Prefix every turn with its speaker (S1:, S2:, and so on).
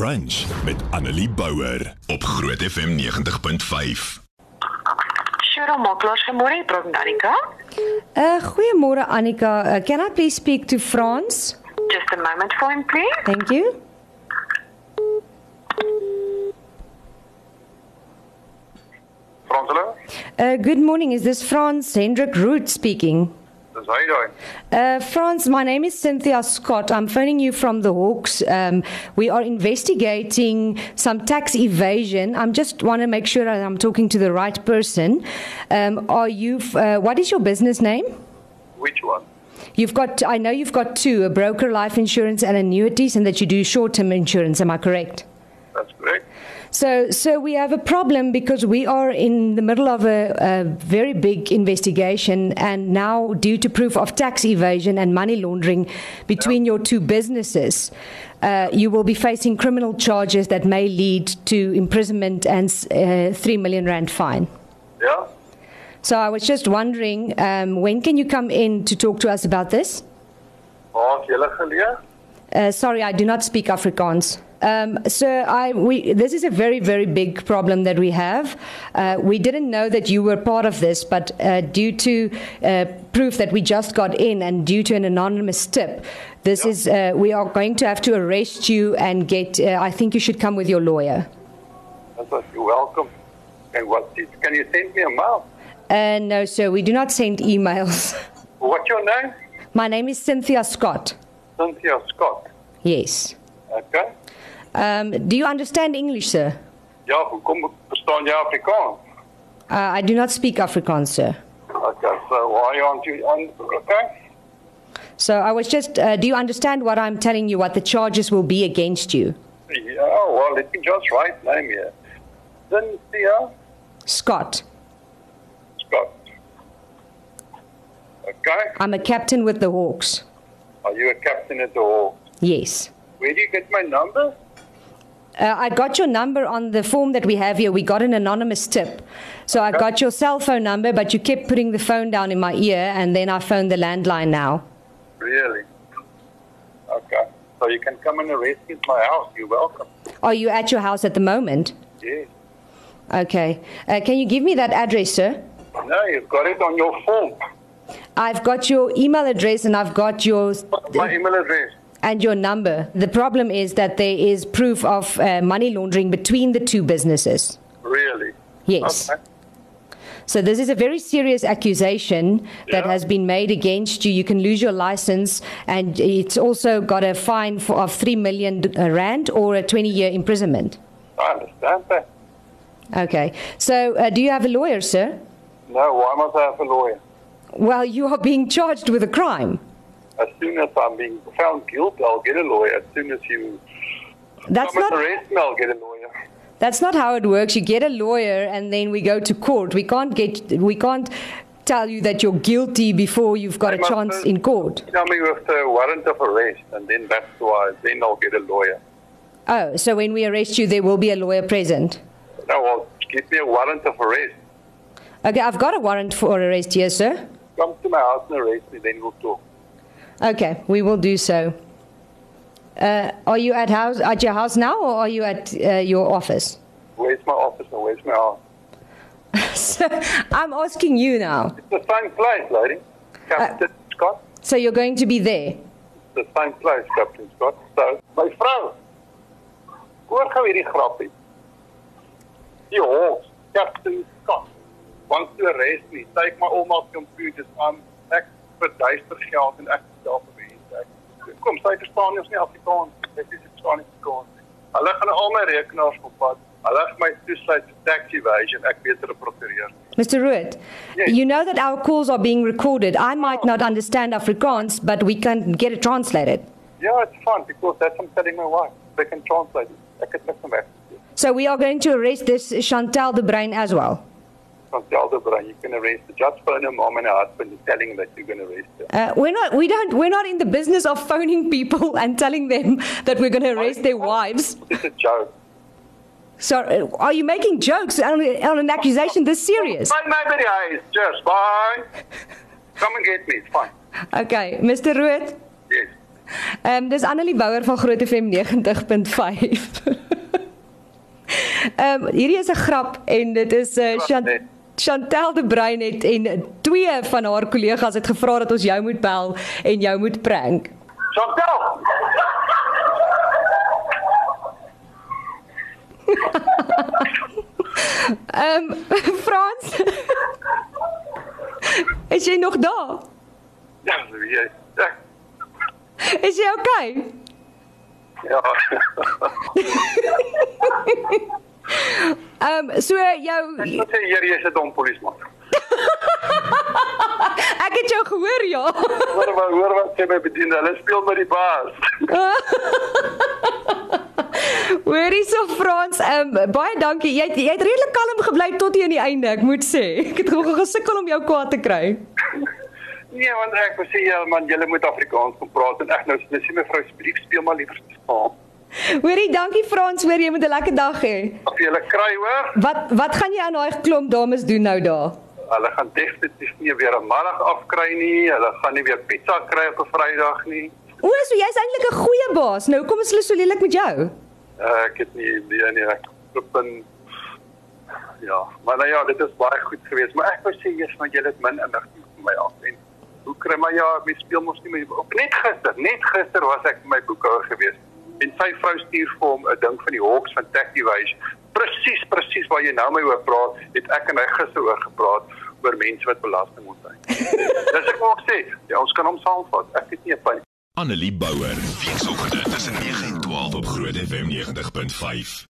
S1: Brunch met Annelie Bouwer op Groot FM 90.5.
S2: Cheryl Makelaar, good morning, Brock Danica.
S3: Uh, goeiemôre Annika. Uh, can I please speak to Frans?
S2: Just a moment for him, please.
S3: Thank you.
S4: Fransela,
S3: Uh, good morning. Is this Frans Hendrik Root speaking?
S4: dis hy daai.
S3: Uh, Frans, my name is Cynthia Scott. I'm phoning you from the Hawks. Um, we are investigating some tax evasion. I just want to make sure that I'm talking to the right person. Um, are you? f- Uh, what is your business name?
S4: Which one?
S3: You've got. I know you've got two: a broker, life insurance, and annuities, and that you do short-term insurance. Am I correct?
S4: That's correct.
S3: So, so we have a problem because we are in the middle of a, a very big investigation, and now due to proof of tax evasion and money laundering between your two businesses, uh, you will be facing criminal charges that may lead to imprisonment and uh, three million rand fine.
S4: Yeah.
S3: So, I was just wondering, um, when can you come in to talk to us about this?
S4: Waar het julle geleë?
S3: Uh, sorry, I do not speak Afrikaans. Um, so I, we, this is a very, very big problem that we have. Uh, we didn't know that you were part of this, but uh, due to uh, proof that we just got in and due to an anonymous tip, this is uh, we are going to have to arrest you and get. Uh, I think you should come with your lawyer.
S4: That's what you welcome. And what is, can you send me a mail?
S3: Uh, no, sir, we do not send emails.
S4: What's your name?
S3: My name is Cynthia Scott.
S4: Cynthia Scott.
S3: Yes.
S4: Okay.
S3: Um, do you understand English, sir?
S4: Ja, hoekom verstaan jy Afrikaans?
S3: Uh, I do not speak Afrikaans, sir.
S4: Okay, so uh, why aren't you on? Okay.
S3: So I was just, uh, do you understand what I'm telling you, what the charges will be against you?
S4: Yeah, well, let me just write name here. Cynthia
S3: Scott,
S4: Scott. Okay.
S3: I'm a captain with the Hawks.
S4: Are you a captain at the hall?
S3: Yes.
S4: Where do you get my number?
S3: Uh, I got your number on the form that we have here. We got an anonymous tip. So I got your cell phone number, but you kept putting the phone down in my ear, and then I phoned the landline now.
S4: Really? Okay. So you can come and arrest me at my house. You're welcome.
S3: Are you at your house at the moment?
S4: Yes.
S3: Okay. Uh, can you give me that address, sir?
S4: No, you've got it on your form.
S3: I've got your email address and I've got your
S4: My email address.
S3: and your number. The problem is that there is proof of uh, money laundering between the two businesses.
S4: Really?
S3: Yes.
S4: Okay.
S3: So this is a very serious accusation that
S4: Yeah.
S3: has been made against you. You can lose your license, and it's also got a fine for, of three million uh, rand or a twenty-year imprisonment.
S4: I understand that.
S3: Okay. So uh, do you have a lawyer, sir?
S4: No, why must I have a lawyer?
S3: Well, you are being charged with a crime.
S4: As soon as I'm being found guilty, I'll get a lawyer. As soon as you
S3: That's
S4: come
S3: not
S4: and arrest me, I'll get a lawyer.
S3: that's not how it works. You get a lawyer, and then we go to court. We can't get we can't tell you that you're guilty before you've got
S4: I
S3: a
S4: must
S3: chance
S4: first-
S3: in court.
S4: Tell me with the warrant of arrest, and then that's why. Then I'll get a lawyer.
S3: Oh, so when we arrest you, there will be a lawyer present.
S4: No, well, give me a warrant of arrest.
S3: Okay, I've got a warrant for arrest here, sir.
S4: Come to my house and arrest me, then we'll talk.
S3: Okay, we will do so. Uh, are you at house at your house now, or are you at uh, your office?
S4: Where's my office and where's my house?
S3: so I'm asking you now.
S4: It's the same place, lady. Captain Scott.
S3: So you're going to be there.
S4: the same place, Captain Scott. So, my vrou, hoor gou hierdie grappie. Die hond, Captain Scott, wants to arrest me, take my all my computers aan, ek verduister geld en ek stel vir mense. Ek- Kom, sy verstaan nie ons nie Afrikaans, dit is verstaan nie Afrikaans. nie. Hulle gaan al my rekenaars opvat. Hulle gaan my toesluit vir tax evasion, ek weet hulle prokureer.
S3: Mr. Ruud,
S4: Yes.
S3: you know that our calls are being recorded. I might not understand Afrikaans, but we can get it translated.
S4: Yeah, it's Ja, fun because that's what I'm telling my wife. They can translate it. Ek het niks om weg te doen.
S3: So we are going to arrest this Chantal de Bruin as well.
S4: from the elder brother, you can arrest the judge for her mom and her husband is telling him that you're going to arrest her.
S3: Uh, we're not. We don't. We're not in the business of phoning people and telling them that we're going to arrest their wives.
S4: It's a joke.
S3: So, uh, are you making jokes on, on an accusation this serious?
S4: Bye, my very eyes. Cheers. Bye. Come and get me. It's fine.
S3: Okay, Mr. Ruet,
S4: Yes.
S3: Ehm um, dis Annelie Bouwer van Groot FM 90.5. Ehm um, hierdie is 'n grap en dit is uh, Chant
S4: net.
S3: Chantel de Bruin het en twee van haar kollegas het gevra dat ons jou moet bel en jou moet prank.
S4: Chantel.
S3: Ehm um, Frans Is jy nog daar?
S4: Ja, so wie jy. Ja.
S3: Is jy okay?
S4: Ja.
S3: Ehm um, so jou
S4: Ek sê hier jy's 'n dom polisieman.
S3: ek het jou gehoor ja.
S4: Hoor maar hoor wat sê my bediende, hulle speel met die baas.
S3: Hoor hierso Frans, ehm um, baie dankie. Jy het, jy het redelik kalm gebly tot hier aan die einde, ek moet sê. Ek het nog gesukkel om jou kwaad te kry.
S4: Nee, want ek wou sê ja man, jy moet Afrikaans kom praat en ek nou dis nie mevrou Spreek speel maar liever Spaans.
S3: Hoorie, dankie Frans, hoor jy moet 'n lekker dag hê.
S4: Of jy hulle kry hoor,
S3: Wat wat gaan jy aan daai klomp dames doen nou daar?
S4: hulle gaan definitief nie weer 'n middag afkry nie. Hulle gaan nie weer pizza kry op 'n Vrydag nie.
S3: O, so jy's eintlik 'n goeie baas. Nou kom ons hulle so lelik met jou.
S4: Uh, ek het nie idee nie ek loop in ja, maar nou ja, dit is baie goed geweest, maar ek wou sê eers van julle het min inligting vir my af en hoe kry maar ja, mens speel mos nie met op net gister, net gister was ek by my boekhouer geweest en sy vrou stuur vir hom 'n ding van die Hawks van Tactiwise. Presies, presies waar jy nou my oor praat, het ek en hy gister oor gepraat oor mense wat belasting ontduik. Dis ek wou sê, ja, ons kan hom saamvat. Ek het nie 'n punt
S1: Annelie Bouwer, weekoggend tussen 9 en 12 op Groot FM 90.5.